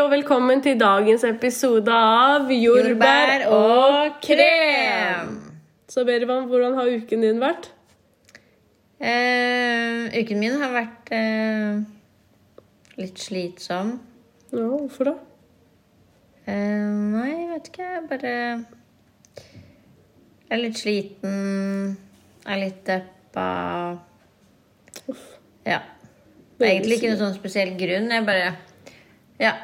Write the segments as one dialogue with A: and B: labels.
A: og velkommen til dagens episode av Jordbær og krem. Så Berivan, hvordan har uken din vært?
B: Eh, uken min har vært eh, litt slitsom.
A: Ja, hvorfor da?
B: Eh, nei, jeg vet ikke. Jeg bare Jeg er litt sliten. Er litt deppa. Ja. Det er egentlig ikke noen sånn spesiell grunn. Jeg bare Ja.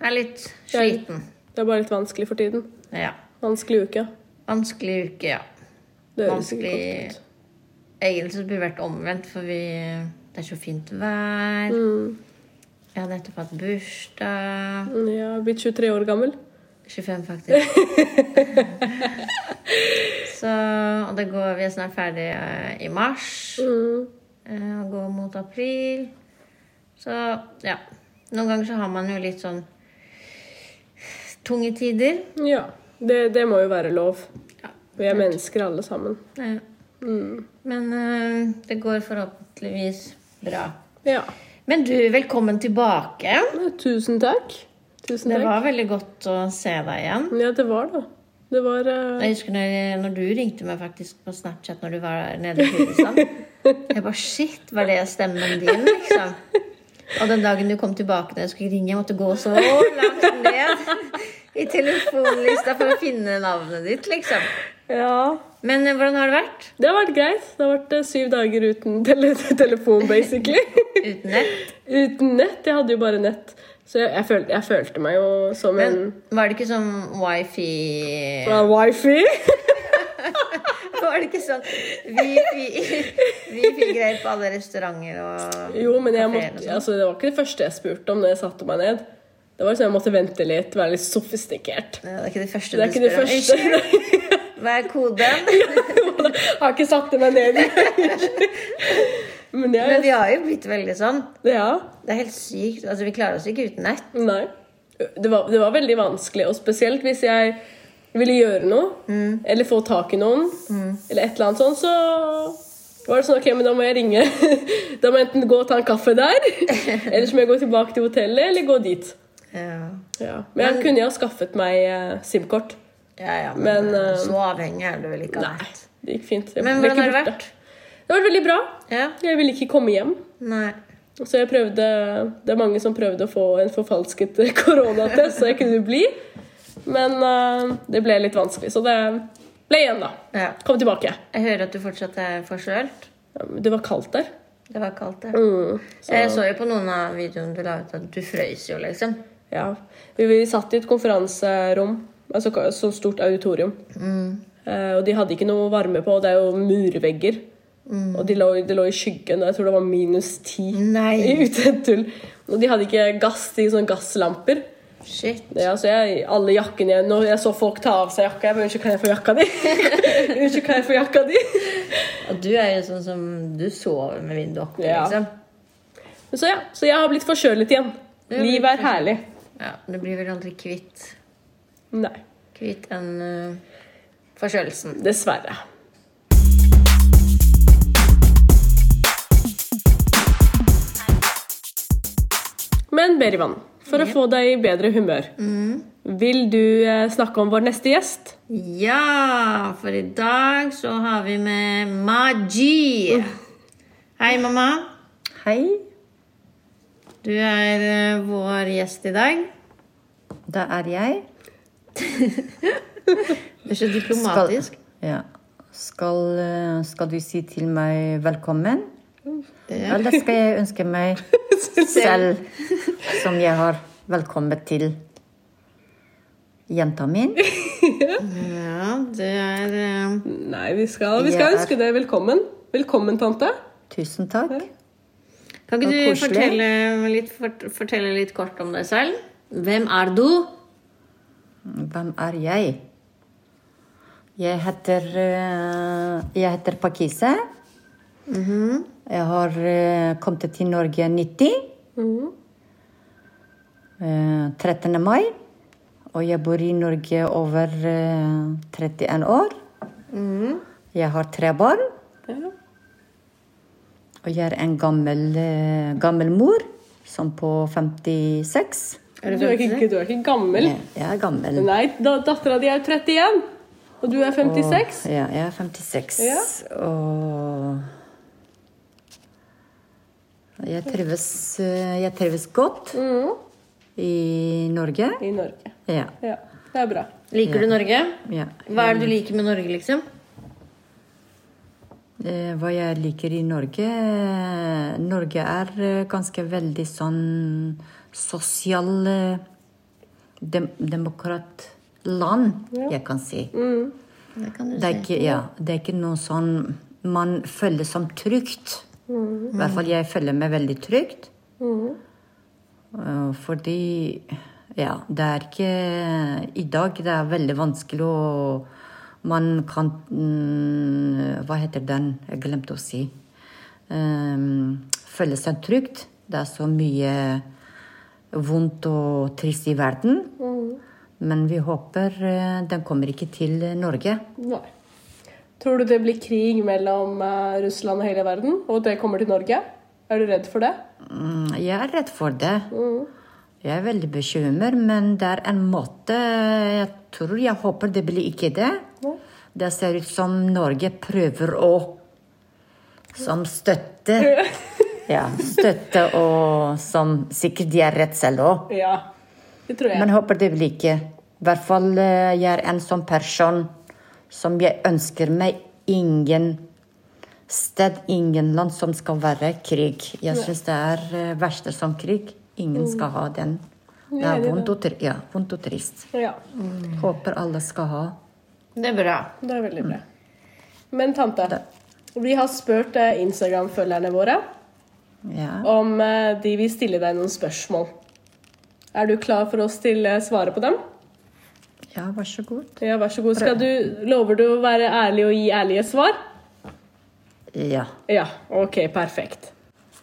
B: Er litt sliten.
A: Det er bare litt vanskelig for tiden.
B: Ja.
A: Vanskelig uke.
B: Vanskelig uke, ja.
A: Det høres ikke
B: Vanskelig.
A: godt ut.
B: Egentlig så burde det vært omvendt, for vi, det er så fint vær. Jeg har nettopp hatt bursdag.
A: Mm, Jeg har blitt 23 år gammel.
B: 25, faktisk. så, og det går, vi er snart ferdig eh, i mars.
A: Mm.
B: eh, Og går mot april. Så ja. Noen ganger så har man jo litt sånn tunge tider.
A: Ja. Det, det må jo være lov.
B: Ja.
A: Vi er mennesker alle sammen.
B: Eh, Men eh, det går forhåpentligvis bra.
A: Ja.
B: Men du, velkommen tilbake.
A: Men Tusen takk. Tusen
B: Det
A: takk.
B: var veldig godt å se deg igjen.
A: Ja, det var det. Det var eh,
B: Jeg husker når, når du ringte meg faktisk på Snapchat når du var nede i Kristiansand. Jeg bare Shit, var det stemmen din, liksom? Og den dagen du kom tilbake når jeg skulle ringe, jeg måtte gå så langt ned i telefonlista for å finne navnet ditt, liksom.
A: Ja.
B: Men eh, hvordan har det vært?
A: Det har vært greit. Det har vært eh, syv dager uten tele telefon, basically.
B: Uten nett?
A: uten nett. Jeg hadde jo bare nett. Så jeg, jeg, følte, jeg følte meg jo som
B: Men
A: en
B: var det ikke sånn wifi
A: fra wifi.
B: Var det ikke sånn wifi-greier på alle restauranter og
A: Jo, men jeg
B: kaféer og
A: måtte,
B: sånn?
A: altså, det var ikke det første jeg spurte om når jeg satte meg ned. Det var liksom Jeg måtte vente litt, være litt sofistikert.
B: Ja, Det er ikke det første
A: Det er
B: du
A: ikke det
B: spør om.
A: første.
B: Unnskyld, Hva er koden?
A: Jeg har ikke satt meg ned. men
B: Men
A: jeg
B: vi har jo blitt veldig sånn.
A: Ja.
B: Det er helt sykt. Altså, vi klarer oss ikke uten nett.
A: Nei. Det var, det var veldig vanskelig, og spesielt hvis jeg ville gjøre noe,
B: Mm.
A: eller få tak i noen, eller et eller annet sånt, så var det sånn, ok, men da må jeg ringe. da må jeg enten gå og ta en kaffe der, eller så må jeg gå tilbake til hotellet, eller gå dit.
B: Ja,
A: Ja. Men jeg kunne jo ha skaffet meg eh, SIM-kort.
B: ja, ja
A: Men,
B: men,
A: eh,
B: så avhengig er du vel ikke av
A: Nei,
B: nett.
A: det gikk fint. Jeg
B: Men
A: ble
B: hvordan har
A: ikke
B: det
A: borte.
B: vært?
A: Det har vært veldig bra.
B: Ja?
A: Jeg ville ikke komme hjem.
B: Nei.
A: Så jeg prøvde, det er mange som prøvde å få en forfalsket koronatest, så jeg kunne bli. Men eh, det ble litt vanskelig, så det ble igjen, da.
B: Ja.
A: Kom tilbake.
B: Jeg hører at du fortsatt er forkjølt.
A: Ja, men Det var kaldt der.
B: Det var kaldt, det.
A: Mm, så,
B: Jeg så jo på noen av videoene du la ut at du frøys jo, liksom.
A: ja. vi, vi satt i et konferanserom, altså ka- så stort auditorium. Eh, og de hadde ikke noe varme på, og det er jo murvegger. Og de lå, det lå i skyggen, og jeg tror det var minus ti.
B: Nei.
A: Ute et tull. Og de hadde ikke gass, de sånne gasslamper.
B: Shit.
A: Ja, altså jeg, alle jakkene jeg, Når jeg så folk ta av seg jakka, jeg bare Unnskyld, kan jeg få jakka di? Unnskyld, kan jeg få jakka di?
B: Og du er jo sånn som Du sover med vinduet oppe,
A: Ja.
B: liksom.
A: Så ja, så jeg har blitt forkjølet igjen.
B: Ja,
A: Livet er herlig.
B: Ja, Du blir vel aldri kvitt
A: Nei,
B: Kvitt den eh, forkjølelsen.
A: dessverre. Men Berivan, for å få deg i bedre humør,
B: Mm.
A: vil du eh, snakke om vår neste gjest?
B: Ja, for i dag så har vi med Maji. Hei, mamma.
C: Hei.
B: Du er eh, vår gjest i dag.
C: Da er jeg.
B: Du er så diplomatisk.
C: Ja. Skal, eh, skal du si til meg velkommen?
B: Ja.
C: Eller skal jeg ønske meg selv, som jeg har velkommen til jenta min?
B: Ja, du er eh,
A: Nei, vi skal, vi
C: Jeg
A: skal
C: er-
A: ønske deg velkommen. Velkommen, tante.
C: Tusen takk.
B: Kan ikke
C: Og
B: du
C: koselig.
B: fortelle litt, fort- fortelle litt kort om deg selv? Hvem er du?
C: Hvem er jeg? Jeg heter eh, Jeg heter Pakise. Jeg har eh, kommet til Norge 90. Eh, 13. mai. Og jeg bor i Norge over eh, 31 år. Jeg har tre barn.
A: Ja.
C: Og jeg er en gammel, eh, gammel mor, som på 56.
B: Er det
A: Du er ikke, du er ikke gammel.
C: Jeg er gammel.
A: Nei, da, dattera di er 31, og du er 56.
C: Og, ja, jeg er 56.
A: Ja.
C: Og jeg trives, eh, jeg trives godt i Norge.
A: Mm, I Norge.
C: Ja.
A: Ja, det er bra.
B: Liker du Norge?
C: ja.
B: Hva er det du liker med Norge, liksom?
C: Eh, Hva jeg liker i Norge eh, Norge er eh, ganske veldig sånn sosial eh, dem demokratland, jeg kan si.
B: Det kan du
C: Det er
B: si.
C: ikke, ja, det er ikke noe sånn man føler som trygt.
B: Mm.
C: I hvert fall jeg føler meg veldig trygt. Eh, Fordi Ja, det er ikke I dag det er veldig vanskelig å Man kan mm, Hva heter den? Jeg glemte å si. Um, føle seg trygt. Det er så mye vondt og trist i verden.
B: Mm.
C: Men vi håper eh, den kommer ikke til Norge.
A: Nei. Tror du det blir krig mellom eh, Russland og hele verden, og det kommer til Norge? Er du redd for det?
C: Mm, Jeg er redd for det. Jeg er veldig bekymret, men det er en måte Jeg tror, jeg håper det blir ikke det. Det ser ut som Norge prøver å Som støtte. Ja, støtte og som sikkert de er redd selv òg.
A: Ja. Det tror jeg.
C: Men håper det blir ikke. I hvert fall eh, jeg er en sånn person som jeg ønsker meg ingen sted, ingen land som skal være krig. Jeg syns det er eh, verste som krig. Ingen skal ha den. Det
A: Mm. Ja,
C: er
A: det Mm. er
C: vondt og, tri ja, vondt og trist.
A: Ja,
C: Håper alle skal ha.
B: Det er bra.
A: det er veldig bra. Men tante, vi har spurt eh, Instagram-følgerne våre
C: Ja.
A: om eh, de vil stille deg noen spørsmål. Er du klar for å stille svaret på dem?
C: ja, vær så god.
A: Ja, vær så god. Skal du, lover du å være ærlig og gi ærlige svar?
C: Ja.
A: Ja, ok, perfekt.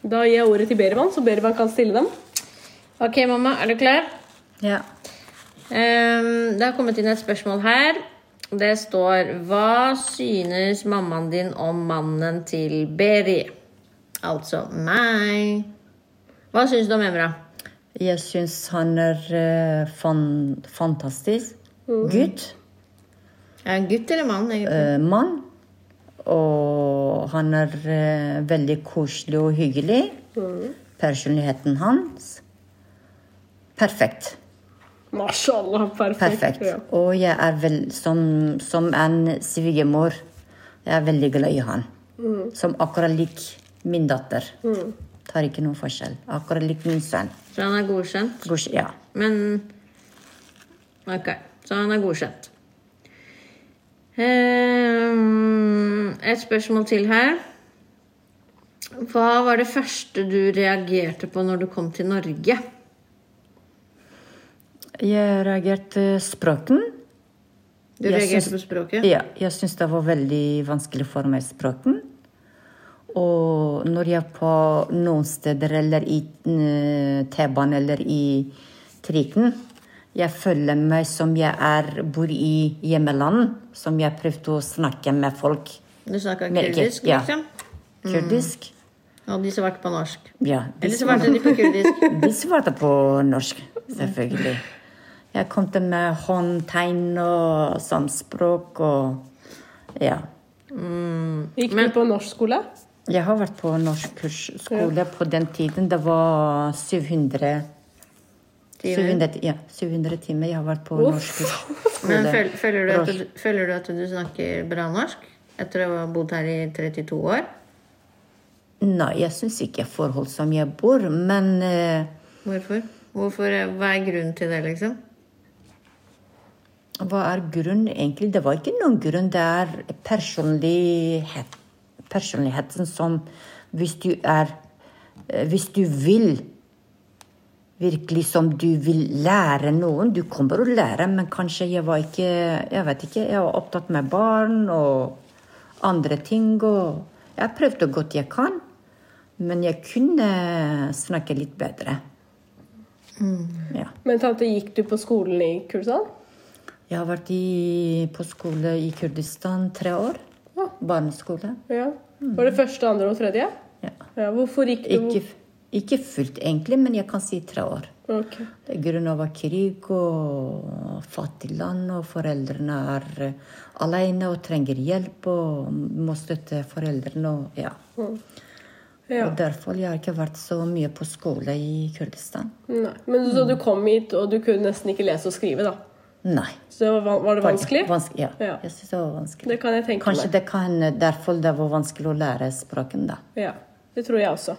A: Da gir jeg ordet til Berivan, så Berivan kan stille dem.
B: Ok, mamma, er du klar?
C: ja.
B: Ehm, det har kommet inn et spørsmål her. Det står Hva synes mammaen din om mannen til Beri? Altså meg. Hva syns du om Emra?
C: Jeg syns han er eh, fan fantastisk
A: Mm.
C: gutt.
B: Er han gutt eller mann? egentlig?
C: eh, mann. Og han er eh, veldig koselig og hyggelig. Personligheten hans perfekt.
A: Mashallah, perfekt.
C: Perfekt.
A: Ja.
C: Og jeg er vel som, som en svigermor. Jeg er veldig glad i han. Som akkurat lik min datter. Tar ikke noen forskjell. Akkurat lik min sønn.
B: Så han er godkjent?
C: Gors- Ja.
B: Men Ok, så han er godkjent. Ehm, et spørsmål til her. Hva var det første du reagerte på når du kom til Norge?
C: Jeg reagerte språken.
B: Du
C: Jeg
B: reagerte
C: syns-
B: på språket?
C: Ja, jeg syns det var veldig vanskelig for meg, språken. Og når jeg på noen steder eller i eh, T-banen eller i trikken Jeg føler meg som jeg er, bor i hjemmeland, som jeg prøvde å snakke med folk.
B: Du snakka
C: Men ikke-
B: kurdisk,
C: ja.
B: liksom?
C: Kurdisk.
B: Og de svarte på norsk.
C: Ja. de
B: Eller svarte de på kurdisk.
C: De svarte på norsk, selvfølgelig. Jeg kom til med håndtegn og samspråk og Ja.
A: Gikk du på norskskole?
C: Jeg har vært på norskkursskole på den tiden. Det var 700
B: Timer.
C: 700, ja, 700 timer jeg har vært på norskkursskole.
B: Men føl, føler, du at du, føler du at du snakker bra norsk? Etter å ha bodd her i 32 år?
C: Nei, jeg syns ikke forhold som jeg bor, men eh,
B: Hvorfor? Hvorfor? eh, Hva er grunnen til det, liksom?
C: hva er grunnen egentlig? Det var ikke noen grunn. Det er personlighet, personligheten som Hvis du er eh, Hvis du vil virkelig som du vil lære noen. Du kommer å lære, men kanskje jeg var ikke Jeg vet ikke. Jeg var opptatt med barn og andre ting. Og jeg prøvde godt jeg kan, men jeg kunne snakke litt bedre. Ja.
A: Men tante, gikk du på skolen i Kursan?
C: Jeg har vært i, på skole i Kurdistan tre år. Barneskole.
A: Ja. Var det første, andre og tredje?
C: Ja.
A: Ja, hvorfor gikk du
C: Ikke, ikke fullt, egentlig, men jeg kan si tre år.
A: Ok.
C: Det er grunn av krig og fattig land, og foreldrene er eh, alene og trenger hjelp og må støtte foreldrene. Og, ja.
A: Ja.
C: og derfor jeg har ikke vært så mye på skole i Kurdistan.
A: Nei. Men så du kom hit, og du kunne nesten ikke lese og skrive, da.
C: Nei.
A: Så det var, van- var det vanskelig?
C: Vanskelig, ja.
A: Ja.
C: Jeg synes det var vanskelig.
A: Det kan jeg tenke
C: Kanskje
A: meg.
C: det kan derfor det var vanskelig å lære språken, da.
A: Ja, det tror jeg også.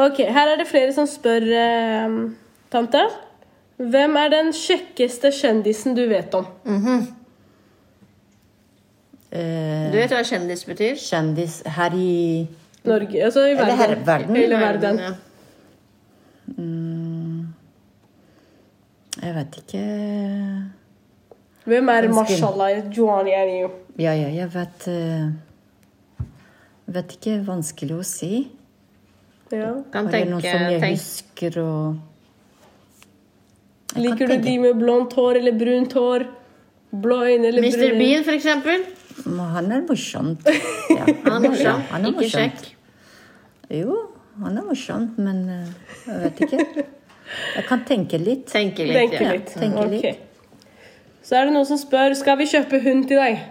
A: Ok, her er det flere som spør, eh, tante. Hvem er den kjekkeste kjendisen du vet om?
C: Eh,
B: Du vet hva kjendis betyr?
C: kjendis her i
A: Norge, altså i verden.
C: Eller her i verden.
A: Hele verden.
B: Ja.
C: Jeg vet ikke
A: Hvem er
C: Ønsken.
A: Mashallah Juani Aliyu?
C: Ja, ja, jeg vet eh, Vet ikke. Vanskelig å si.
A: Ja.
B: Kan
C: Var det noe
B: tenke,
C: som jeg
B: tenk,
C: husker og Jeg
A: Liker du
C: kan tenke.
A: de med blondt hår eller brunt hår? Blå øyne eller brune
B: Mr.
A: øyne?
B: Bean, for eksempel.
C: Men Han er morsom. Ja,
B: Han er morsom.
C: han er
B: Ikke
C: morsom.
B: kjekk.
C: Jo, han er morsom, men eh, jeg vet ikke. Jeg kan tenke litt.
B: Tenke litt.
A: Tenke
B: ja.
A: litt.
C: tenke
A: Ok.
C: litt.
A: Så er det noen som spør skal vi kjøpe hund til deg.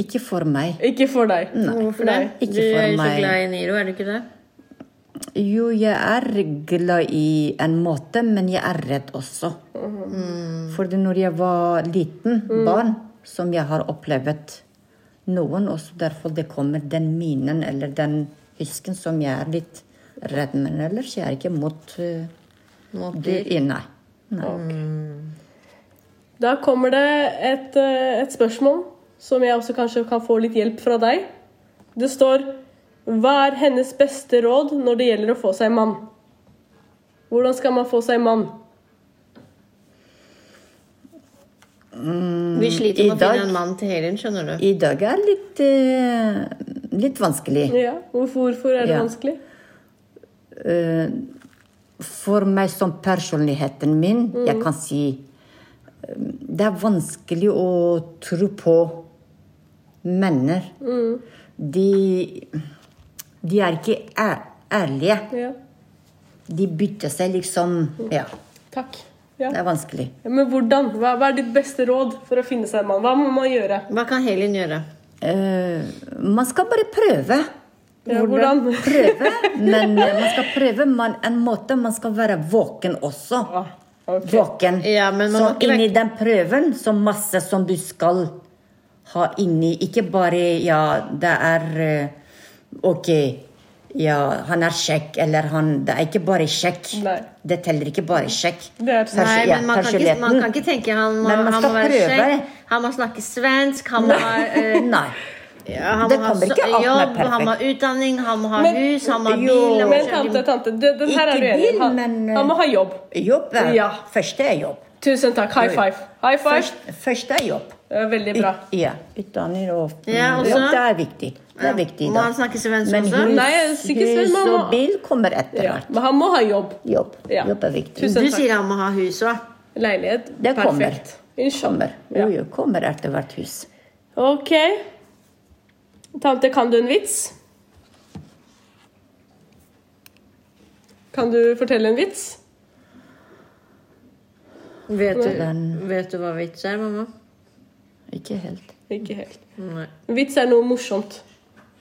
C: Ikke for meg.
A: Ikke for deg.
B: Hvorfor det?
C: Ikke
B: Du
C: for
B: er jo så
C: meg.
B: glad i Niro, er du ikke det?
C: Jo, jeg er glad i en måte, men jeg er redd også. Fordi når jeg var liten barn, som jeg har opplevd noen, og så derfor det kommer den minen eller den fisken som jeg er litt redd med. Ellers jeg er ikke mot eh,
B: Mot
C: dyr. Nei. Nei.
A: Da kommer det et, eh, et spørsmål som jeg også kanskje kan få litt hjelp fra deg. Det står Hva er hennes beste råd når det gjelder å få seg mann? Hvordan skal man få seg mann?
B: Vi sliter med
C: I
B: å
C: dag-
B: finne en mann til Helin, skjønner du.
C: I dag er litt, eh, litt vanskelig.
A: Ja, Hvorfor, hvorfor er det
C: Ja.
A: vanskelig?
C: For meg som personligheten min, jeg kan si eh, Det er vanskelig å tro på menner. De, de er ikke æ- ærlige.
A: Ja.
C: De bytter seg liksom Ja,
A: Takk. Ja.
C: det er vanskelig.
A: Men hvordan? Hva, hva er ditt beste råd for å finne seg en mann? Hva må man gjøre?
B: Hva kan Helin gjøre?
C: Eh, man skal bare prøve.
A: Ja, hvordan?
C: prøve, men eh, man skal prøve man, en måte. Man skal være våken også.
A: Ah, ok.
C: Våken.
B: Ja, men man
C: så
B: må ikke
C: inni den prøven, så masse som du skal ha inni Ikke bare Ja, det er eh, Ok, ja, han er kjekk, eller han Det er ikke bare kjekk.
A: Nei.
C: Det teller ikke bare kjekk.
A: Det er-
C: Pers-
B: Nei,
C: ja,
B: men man kan, ikke,
C: personligheten.
B: man kan ikke tenke han må,
C: Men man
B: han må
C: skal
B: være
C: prøve.
B: kjekk, han må snakke svensk, han må ha eh,
C: Nei.
B: ja, han
C: Det
B: må ha
C: kommer
B: så-
C: ikke alt med
B: jobb, han må ha
C: perfekt.
B: utdanning, han må ha
A: Men-
B: hus, han må ha
C: Jo,
B: bil han må
A: Men
B: kjøre-
A: tante, tante, det, den her
C: Ikke
A: er du enig i.
C: bil,
A: Han,
C: men, eh,
A: han må ha jobb.
C: Jobb er
A: Ja.
C: Første er jobb.
A: Tusen takk. High five. High five.
C: Først, første er jobb.
A: Det er Veldig bra.
C: Ut- Ja. Utdanning og
B: Ja, og så-
C: jobb, det er viktig. Det er viktig
B: Må
C: da.
B: han snakke svensk
C: Men
B: også?
C: hus,
A: Nei, jeg er sikkert svensk,
C: hus og
A: mamma.
C: bil kommer etter
A: Ja.
C: hvert.
A: Men han må ha jobb.
C: Jobb.
A: Ja.
C: Jobb er viktig.
A: Tusen
B: Du
A: takk.
B: sier han må ha hus òg.
A: Leilighet.
C: Det kommer.
A: Perfekt. Inshallah.
C: Kommer.
A: Ja.
C: Jo, jo, kommer etter hvert hus.
A: Ok. Tante, kan du en vits? Kan du fortelle en vits?
B: Vet du,
C: Den-
B: vet du hva vits er, mamma?
C: Ikke helt
A: Ikke helt.
B: Nei.
A: En vits er noe morsomt.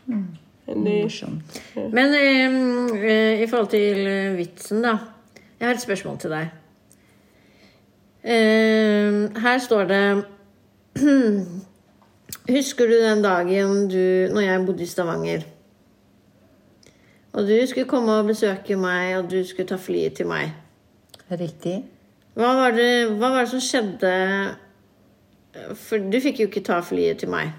C: Mm.
A: En ny
C: morsomt.
B: Men eh, eh, i forhold til eh, vitsen, da. Jeg har et spørsmål til deg. Eh, her står det Husker du den dagen du Når jeg bodde i Stavanger. Og du skulle komme og besøke meg, og du skulle ta flyet til meg.
C: Riktig.
B: Hva var det, hva var det som skjedde For du fikk jo ikke ta flyet til meg.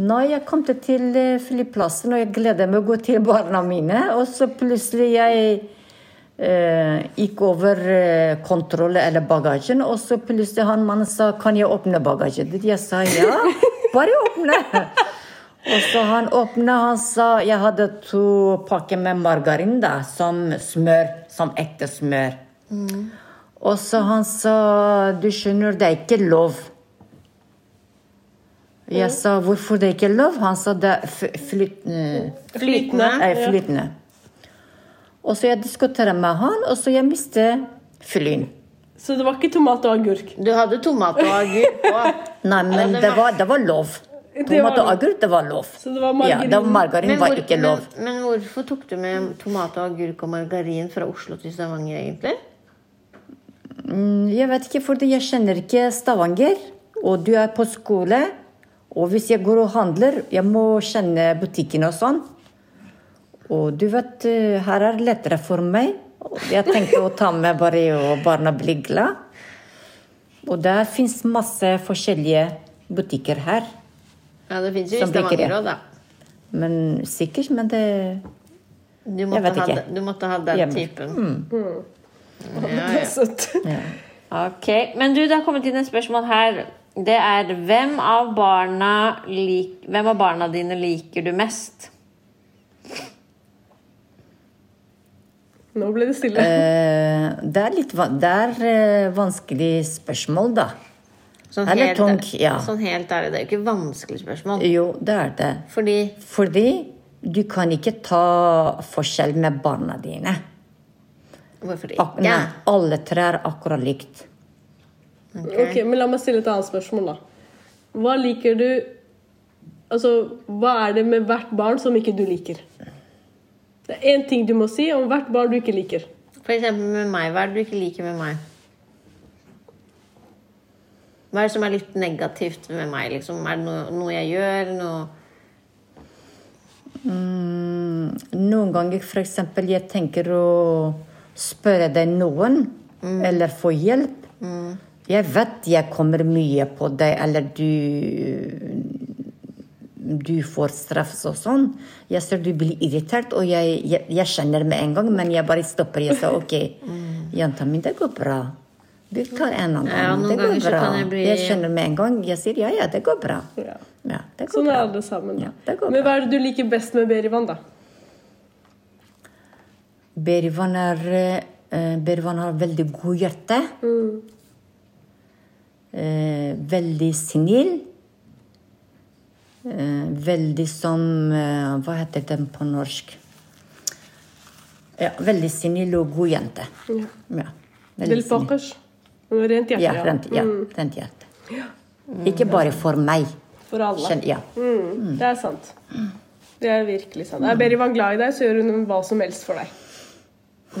C: Nei, jeg kom til- til eh, flyplassen, og jeg gleder meg å gå til barna mine. Og så plutselig jeg eh, gikk over eh, kontroll eller bagasjen, og så plutselig han mannen sa 'Kan jeg åpne bagasjen ditt?' Jeg sa ja. Bare åpne. Og så han åpna, han sa Jeg hadde to pakker med margarin, da, som smør. Som ekte smør. Og så han sa 'Du skjønner, det er ikke lov'. Jeg sa hvorfor det ikke er lov. Han sa det er f- flyt, eh,
A: flytende.
C: nei, flytende. Og så jeg diskuterer med han, og så jeg mister fyllen.
A: Så det var ikke tomat og agurk.
B: Du hadde tomat og agurk på.
C: Nei, men det var, det var lov.
A: Det var
C: Tomat og
A: lov.
C: agurk, det var lov.
A: Så det var
C: Ja, det var
A: margarin.
C: margarin var
B: hvor-
C: ikke lov.
B: Men, men hvorfor tok du med tomat og agurk og margarin fra Oslo til Stavanger, egentlig?
C: Mm, Jeg vet ikke, fordi jeg kjenner ikke Stavanger. Og du er på skole. Og hvis jeg går og handler, jeg må kjenne butikken og sånn. Og du vet, eh, her er det lettere for meg. Jeg tenker å ta med bare og barna blir glad. Og der fins masse forskjellige butikker her.
B: Ja, det fins jo i
C: Som bikeri.
B: Stavanger òg, da.
C: Men sikkert, men det
B: Du måtte,
C: vet
B: ha,
C: ikke.
B: den- du måtte ha den
C: Hjemme. Mm.
B: typen.
A: Det er søtt.
C: ja.
B: Ok, men du, det har kommet inn et spørsmål her. Det er hvem av barna, lik, hvem av barna dine liker du mest?
A: Nå ble det stille.
C: Eh, Det er litt van- det er, eh, vanskelig spørsmål, da.
B: Sånn
C: Eller
B: helt-
C: tung, ja.
B: Sånn helt ærlig, det er jo ikke vanskelig spørsmål.
C: Jo, det er det.
B: Fordi
C: Fordi du kan ikke ta forskjell med barna dine.
B: Hvorfor
C: Ak
B: ikke?
C: nei, alle tre er akkurat likt.
A: Ok, men La meg stille et annet spørsmål, da. Hva liker du Altså, hva er det med hvert barn som ikke du liker? Det er én ting du må si om hvert barn du ikke liker.
B: For eksempel med meg. Hva er det du ikke liker med meg? Hva er det som er litt negativt med meg? Liksom? Er det noe, noe jeg gjør? Noe
C: Mm, Noen ganger for eksempel, jeg tenker å spørre deg noen,
B: Mm.
C: eller få hjelp. Jeg vet jeg kommer mye på deg, eller du Du får straff og sånn. Jeg ser du blir irritert, og jeg, jeg, jeg kjenner med en gang, men jeg bare stopper. Jeg sa OK, jenta mi, det går bra. Vi tar en
B: Mm.
C: annen
B: Ja,
C: gang.
B: noen
C: det går
B: ganger så
C: bra.
B: kan jeg bli-
C: kjenner med en gang. Jeg sier ja, ja, det går bra.
A: Ja.
C: Ja, det går
A: Sånn er
C: bra.
A: alle sammen. da.
C: Ja, det går
A: men
C: bra.
A: hva er det du liker best med Berivan, da?
C: Berivan er eh, Berivan har veldig god hjerte.
A: Mm.
C: Eh, veldig snill. Eh, veldig som eh, Hva heter den på norsk? Ja, veldig snill og god jente.
A: Ja.
C: Ja, veldig
A: Del
C: snill.
A: Pakkers. Rent hjerte, Mm,
C: Ja, rent, ja, rent hjerte. Ikke bare for meg.
A: For alle.
C: Kjenn, ja.
A: Mm, det er sant. Det er virkelig sant. Er Berivan glad i deg, så gjør hun hva som helst for deg.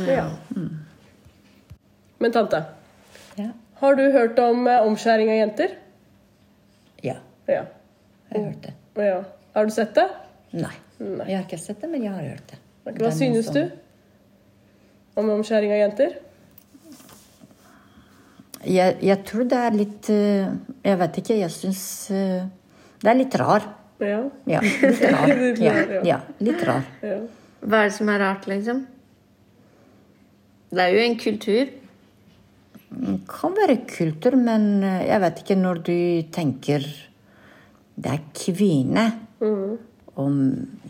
A: Ja.
C: Mm.
A: Men tante,
C: Ja.
A: har du hørt om eh, omskjæring av jenter?
C: ja.
A: Ja.
C: Jeg har hørt det.
A: ja. Har du sett det?
C: Nei. Jeg har ikke sett det, men jeg har hørt det. Det er
A: Hva
C: noe
A: synes
C: som-
A: du om omskjæring av jenter?
C: Jeg, jeg tror det er litt eh, Jeg vet ikke, jeg syns eh, Det er litt rar.
A: Ja.
C: Ja, litt rar.
A: Litt
C: Ja,
A: rar, ja.
C: ja, litt rar.
A: ja.
B: Hva er det som er rart, liksom? Det er jo en kultur.
C: Det kan være kultur, men eh, jeg vet ikke når du tenker Det er kvinne om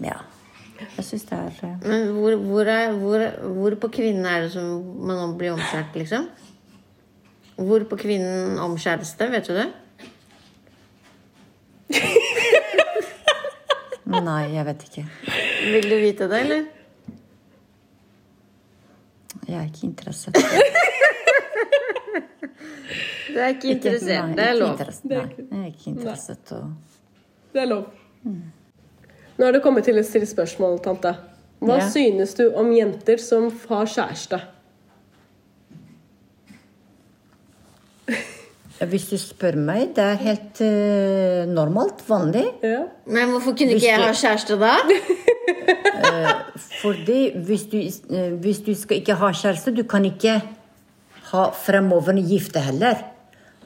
C: Ja. Jeg syns det er eh,
B: Men hvor, hvor, er, hvor, hvor på kvinnen er det som man blir omskjært, liksom? Hvor på kvinnen omskjæres det, vet du det?
C: eh, Nei, jeg vet ikke.
B: Vil du vite det, eller?
C: Jeg er ikke interessert.
B: Du er ikke interessert.
C: Nei,
B: Det er
C: ikke
B: lov.
C: interess- Nei, jeg er ikke interessert. Og...
A: Det er lov.
C: Mm.
A: Nå har det kommet til et stille spørsmål, tante. Hva
C: Ja.
A: synes du om jenter som har kjæreste?
C: Hvis du spør meg, det er helt eh, normalt, vanlig.
A: Ja.
B: Men hvorfor kunne ikke jeg ha kjæreste da?
C: Fordi hvis du, eh, hvis du skal ikke ha kjæreste, du kan ikke ha fremoverende gifte heller.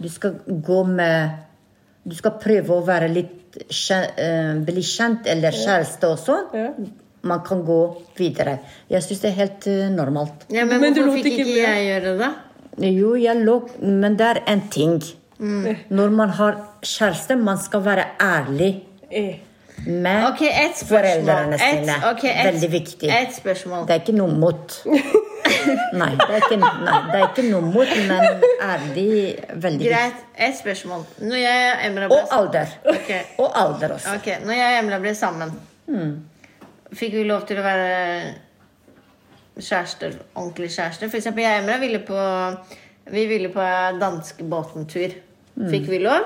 C: Du skal gå med Du skal prøve å være litt kje- eh, bli kjent, eller kjæreste også.
A: Ja.
C: Man kan gå videre. Jeg syns det er helt eh, normalt.
B: Ja, men,
A: Men du lot
B: hvorfor fikk
A: ikke
B: ikke
A: bli.
B: jeg gjøre det, da?
C: Jo, jeg lå Men det er en ting.
B: Mm.
C: Når man har kjæreste, man skal være ærlig
A: Eh.
C: med
B: Ok, ett spørsmål.
C: foreldrene
B: Et,
C: sine.
B: ok, et,
C: Veldig viktig.
B: Et spørsmål.
C: Det er ikke noe mot. Nei, det er ikke, nei, det er ikke noe mot, men ærlig veldig viktig.
B: Greit. Et spørsmål. Når jeg og Emra ble
C: Og alder.
B: Ok.
C: Og alder også.
B: Ok,
C: Hmm.
B: når jeg og Emla ble sammen Fikk vi lov til å være kjæreste, ordentlig kjæreste. For eksempel jeg og Emra ville på Vi ville på danske båtentur.
C: Hmm.
B: Fikk vi lov?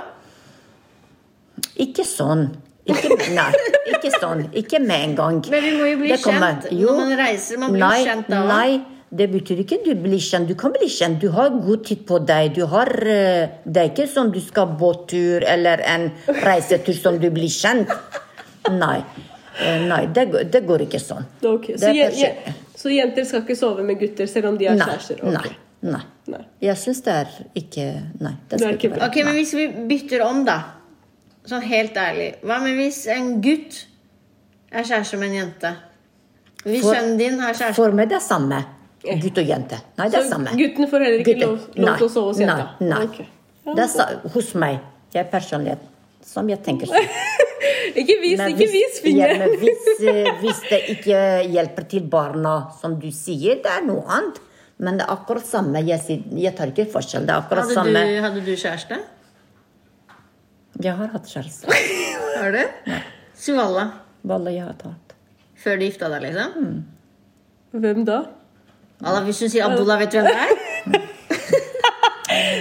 C: Ikke sånn. Ikke, nei, ikke sånn. Ikke med en gang.
B: Men vi må jo bli
C: Det kommer-
B: kjent når man reiser, man blir
C: nei,
B: kjent da.
C: Nei, det betyr ikke du blir kjent. Du kan bli kjent. Du har god tid på deg. Du har, eh, det er ikke som du skal båttur eller en reisetur som du blir kjent. Nei. Eh, Nei, det, går- det går ikke sånn.
A: Det er ok.
C: Det
A: Så,
C: er
A: jen-
C: kanskje-
A: jen- så jenter skal ikke sove med gutter selv om de har
C: Nei,
A: kjærester? Ok.
C: nei, nei.
A: Nei.
C: Jeg syns det er ikke Nei.
A: Det er ikke bra.
B: Ok, men hvis vi bytter om, da. Sånn helt ærlig. Hva med hvis en gutt er kjæreste med en jente? Hvis
C: For-
B: sønnen din har kjæreste
C: For meg det er samme. Gutt og jente. Nei, det er samme.
A: Så guttene får heller ikke
C: Gutter.
A: lov, lov til å sove hos
C: Nei,
A: jenta?
C: Nei. nei.
A: Ok. Ja,
C: Det er sa hos meg. Jeg er personlig som jeg tenker sånn.
A: Ikke vis,
C: Men
A: ikke vis
C: ja,
A: fingeren!
C: men hvis, eh, hvis det ikke hjelper til barna, som du sier, det er noe annet. Men det er akkurat samme. Jeg, sier, jeg tar ikke forskjell. Det er akkurat
B: hadde du,
C: samme.
B: hadde du kjæreste?
C: Jeg har hatt kjæreste.
B: Har du? Svalla.
C: Wallah, jeg har hatt.
B: Før du gifta deg,
C: Mm.
B: liksom?
A: Hvem da?
B: Allah, hvis du sier Abdullah, vet du hvem det er?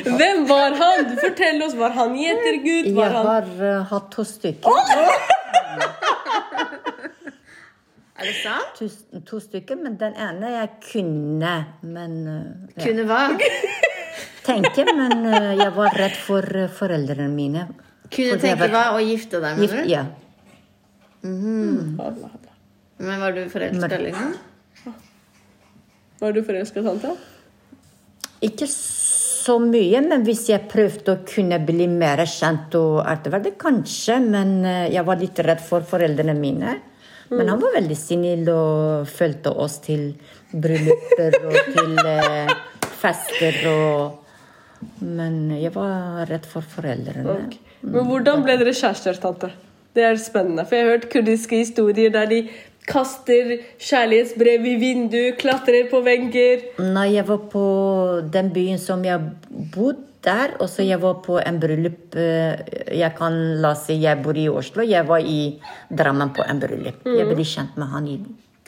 A: Hvem var han? Fortell oss! Var han gjetergutt? Var
C: Jeg
A: han
C: har eh, hatt to stykker.
B: Er det sant?
C: To, to stykker, men den ene jeg kunne, men eh, ja.
B: Kunne hva?
C: tenke, men eh, jeg var redd for eh, foreldrene mine.
B: Kunne
C: Fordi jeg
B: tenke
C: var
B: hva å gifte deg,
C: Gift,
B: mener du?
C: ja.
A: Allah, Allah.
B: Men var du forelska, liksom?
A: Var du forelska i tante?
C: Ikke så mye, men hvis jeg prøvde å kunne bli mer kjent og etter hvert, det kanskje, men eh, jeg var litt redd for foreldrene mine. Men han var veldig snill og fulgte oss til brylluper og til eh, fester og Men jeg var redd for foreldrene.
A: Ok. Men hvordan ble dere kjærester, tante? Det er spennende, for jeg har hørt kurdiske historier der de kaster kjærlighetsbrev i vindu, klatrer på vegger
C: Nei, jeg var på den byen som jeg bodde der, og så jeg var på en bryllup eh, Jeg kan la oss si jeg bor i Oslo, jeg var i Drammen på en bryllup. Jeg ble kjent med han i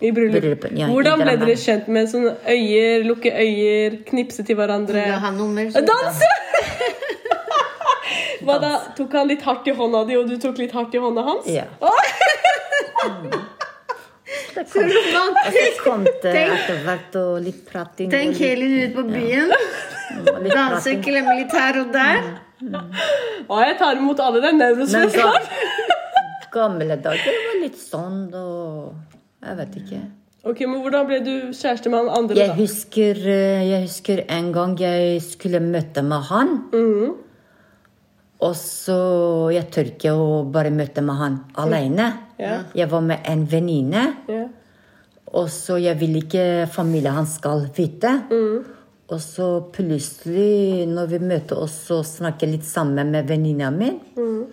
A: i bryllup.
C: Bryllup, ja, i
A: Hvordan ble
C: Drammen.
A: dere kjent med sånne øyer, lukke øyer, knipse til hverandre?
B: Ga han nummer? så-
A: Danse! Hva da? Tok han litt hardt i hånda di, og du tok litt hardt i hånda hans?
C: Ja. Det
B: Så
C: kom, og så
B: romantisk!
C: kom det
B: Tenk-
C: etter hvert og litt prating.
B: Tenk
C: og litt,
B: Helin ut på byen.
C: og litt
B: Danse,
C: prating.
B: klemme litt her og der.
A: Og jeg tar imot alle den
C: Men så
A: nevrosfesten.
C: gamle dager det var litt sånn og Jeg vet ikke.
A: Ok, men hvordan ble du kjæreste med han andre,
C: Jeg
A: da?
C: husker, eh, jeg husker en gang jeg skulle møte med han.
A: Mm.
C: Og så Jeg tør ikke å bare møte med han alene.
A: Ja.
C: Jeg var med en venninne,
A: Ja.
C: og så jeg vil ikke familien hans skal vite.
A: Mm.
C: Og så plutselig, når vi møter oss, så snakker jeg litt sammen med venninna mi.
A: Mm.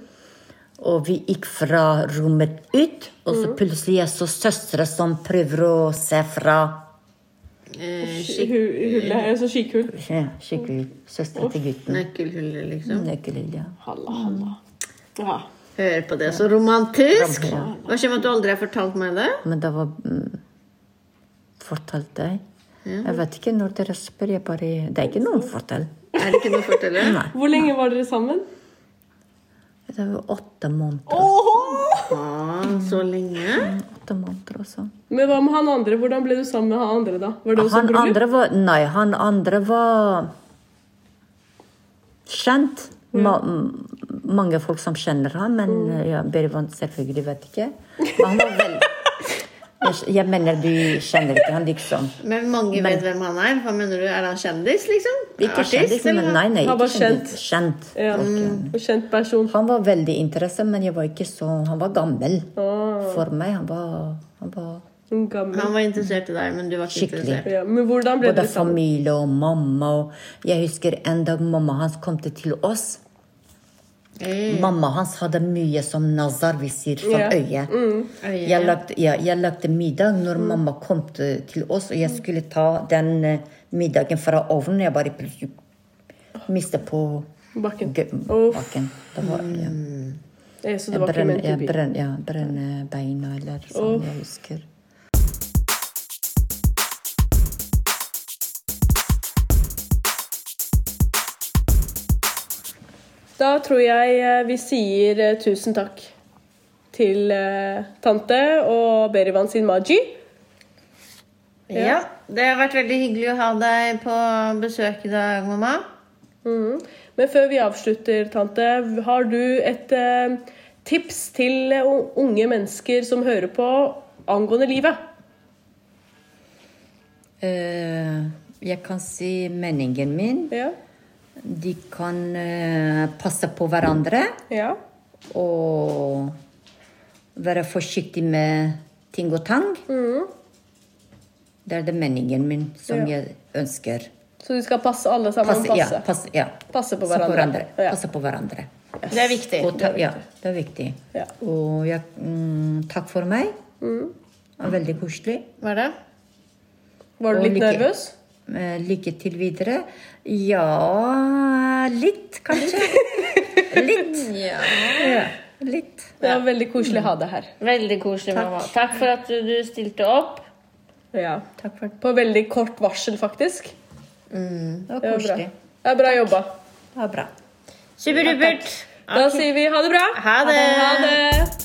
C: Og vi gikk fra rommet ut, og
A: Mm.
C: så plutselig jeg så søstre som prøver å se fra Mm.
B: Eh,
A: Hu- Hullet her, så skikkhull.
C: Ja, skikkelig søster til gutten.
B: Nøkkelhullet, liksom.
C: Nøkkelhull, ja.
A: Halla, halla. Ja.
B: Hør på det, så romantisk!
C: Ja.
B: Hva skjer med at du aldri har fortalt meg det?
C: Men det var mm, fortalt deg. Jeg vet ikke når dere spør. Jeg bare, det er ikke noen fortell.
B: Er det ikke noe å fortelle?
C: Nei.
A: Hvor lenge var dere sammen?
C: Det var åtte måneder.
A: Åhå!
B: Ah, så lenge?
C: Åtte måneder og sånn.
A: Men hva med han andre? Hvordan ble du sammen med han andre, da? Var det også
C: Han
A: bryllup?
C: andre var Nei, han andre var kjent. Ma, m- mange folk som kjenner ham, men ja, Berivan selvfølgelig vet ikke. Men han var vel... Jeg, jeg mener du kjenner ikke han, liksom.
B: Men mange vet hvem han er. Hva mener du? Er han kjendis, liksom?
C: Ikke kjendis, men
B: eller?
C: nei, nei,
A: Han var
C: ikke kjendis. Kjent.
A: Ja. Mm. Og kjent person.
C: Han var veldig interesse, men jeg var ikke så Han var gammel for meg. Han var, han var
A: En gammel.
B: Han var interessert i deg, men du var ikke
C: Skikkelig.
B: interessert.
A: Ja, men hvordan ble
C: både
A: dere sammen?
C: familie og mamma og Jeg husker en dag mamma hans kom til- til oss.
B: Eh,
C: Mamma hans hadde mye som nazar, vi sier, for
A: Ja.
C: øyet.
B: Øye.
C: Jeg lagde, ja, jeg lagde middag når mamma kom til, til oss, og jeg skulle ta den eh, middagen fra ovnen. Jeg bare plutselig mistet på
A: Bakken.
C: gø-
A: Uff.
C: bakken. Det var, ja.
A: Eh, Så det
C: Jeg
A: var ikke
C: brenner,
A: ment
C: jeg
A: to be.
C: brenner, ja, brenner beina, eller sånn jeg husker.
A: Da tror jeg eh, vi sier eh, tusen takk til eh, tante og Berivan sin Maji.
B: Ja. Det har vært veldig hyggelig å ha deg på besøk i dag, mamma.
A: Mhm. Men før vi avslutter, tante, har du et eh, tips til eh, unge mennesker som hører på angående livet?
C: Eh, jeg kan si meningen min.
A: Ja.
C: De kan eh, passe på hverandre
A: ja.
C: og være forsiktig med ting og tang. Det er det meningen min som
A: Mm. Ja.
C: jeg ønsker.
A: Så de skal passe alle sammen?
C: Passe, ja, passe, ja.
A: Passe på
C: Passe
A: hverandre. Ja.
C: Passe på hverandre.
B: Det er viktig.
C: Og ta, ja, det er viktig.
A: Ja.
C: Og jeg, mm, takk for meg. Det var Veldig koselig.
B: Hva er det?
A: Var du
C: Og
A: litt
C: lykke-
A: nervøs?
C: Eh, Lykke til videre. Ja Litt, kanskje. litt.
B: Ja.
C: Ja, litt.
A: Det var veldig koselig å ha deg her.
B: Veldig koselig, mamma. Takk for at du, du stilte opp.
A: Ja.
C: Takk for det.
A: På veldig kort varsel, faktisk.
C: Det var
A: Det var bra.
C: koselig.
A: Det er bra jobba.
C: Det var bra.
B: Superdupert.
A: Da sier vi ha det bra.
B: Ha det.
A: Ha det.